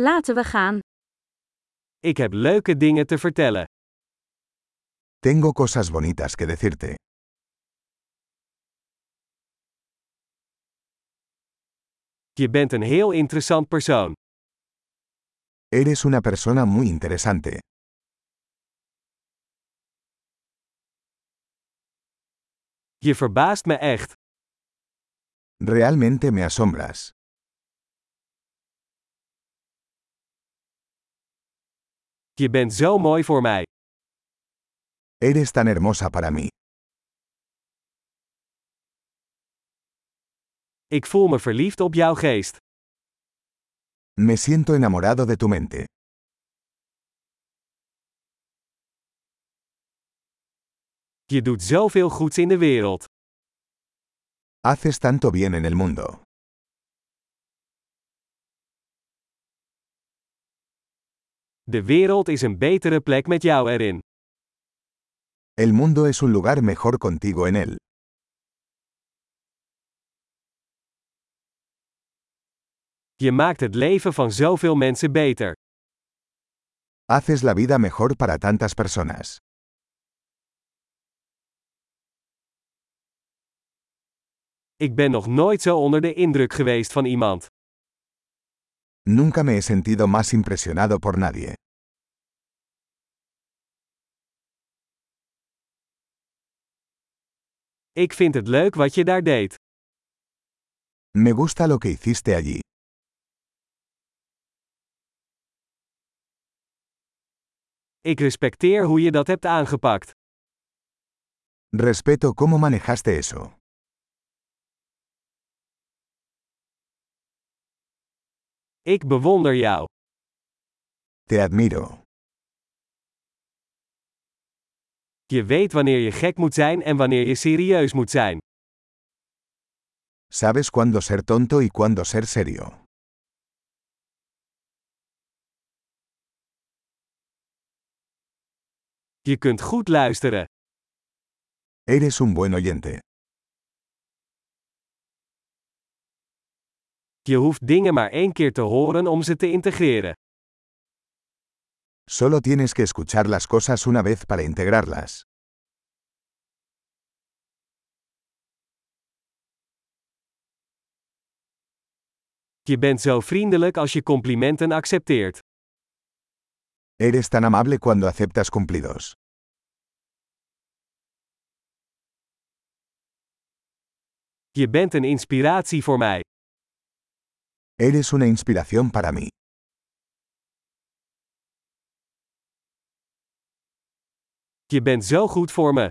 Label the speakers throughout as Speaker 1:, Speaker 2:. Speaker 1: Laten we gaan.
Speaker 2: Ik heb leuke dingen te vertellen.
Speaker 3: Tengo cosas bonitas que decirte.
Speaker 2: Je bent een heel interessant persoon.
Speaker 3: Eres una persona muy interesante.
Speaker 2: Je verbaast me echt.
Speaker 3: Realmente me asombras.
Speaker 2: Je bent zo mooi voor mij.
Speaker 3: Eres tan hermosa para mí.
Speaker 2: Ik voel me verliefd op jouw geest.
Speaker 3: Me siento enamorado de tu mente.
Speaker 2: Je doet zoveel goeds in de wereld.
Speaker 3: Haces tanto bien en el mundo.
Speaker 2: De wereld is een betere plek met jou erin.
Speaker 3: El mundo es un lugar mejor contigo en él.
Speaker 2: Je maakt het leven van zoveel mensen beter.
Speaker 3: Haces la vida mejor para tantas personas.
Speaker 2: Ik ben nog nooit zo onder de indruk geweest van iemand.
Speaker 3: Nunca me he sentido más impresionado por nadie.
Speaker 2: Ik vind het leuk wat je daar deed.
Speaker 3: Me gusta lo que hiciste allí.
Speaker 2: Ik respecteer hoe je dat hebt aangepakt.
Speaker 3: Respeto cómo manejaste eso.
Speaker 2: Ik bewonder jou.
Speaker 3: Te admiro.
Speaker 2: Je weet wanneer je gek moet zijn en wanneer je serieus moet zijn.
Speaker 3: Sabes cuándo ser tonto y cuándo ser serio.
Speaker 2: Je kunt goed luisteren.
Speaker 3: Eres un buen oyente.
Speaker 2: Je hoeft dingen maar één keer te horen om ze te integreren.
Speaker 3: Solo tienes que escuchar las cosas una vez para integrarlas.
Speaker 2: Je bent zo vriendelijk als je complimenten accepteert.
Speaker 3: Eres tan amable cuando aceptas cumplidos.
Speaker 2: Je bent een inspiratie voor mij.
Speaker 3: Eres una inspiración para mí.
Speaker 2: Je bent zo goed voor me.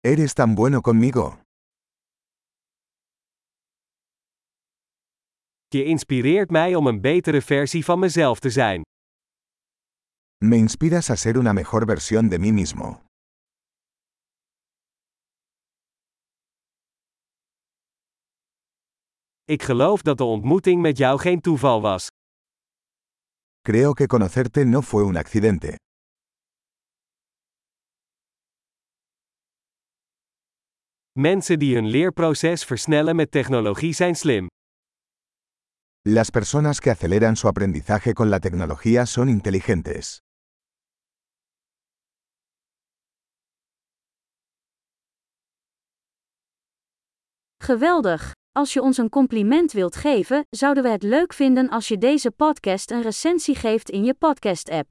Speaker 3: Eres tan bueno conmigo.
Speaker 2: Je inspireert mij om een betere versie van mezelf te zijn.
Speaker 3: Me inspiras a ser una mejor versión de mí mismo.
Speaker 2: Ik geloof dat de ontmoeting met jou geen toeval was.
Speaker 3: Creo que conocerte no fue un accidente.
Speaker 2: Mensen die hun leerproces versnellen met technologie zijn slim.
Speaker 3: Las personas que aceleran su aprendizaje con la tecnología son inteligentes.
Speaker 1: Geweldig! Als je ons een compliment wilt geven, zouden we het leuk vinden als je deze podcast een recensie geeft in je podcast-app.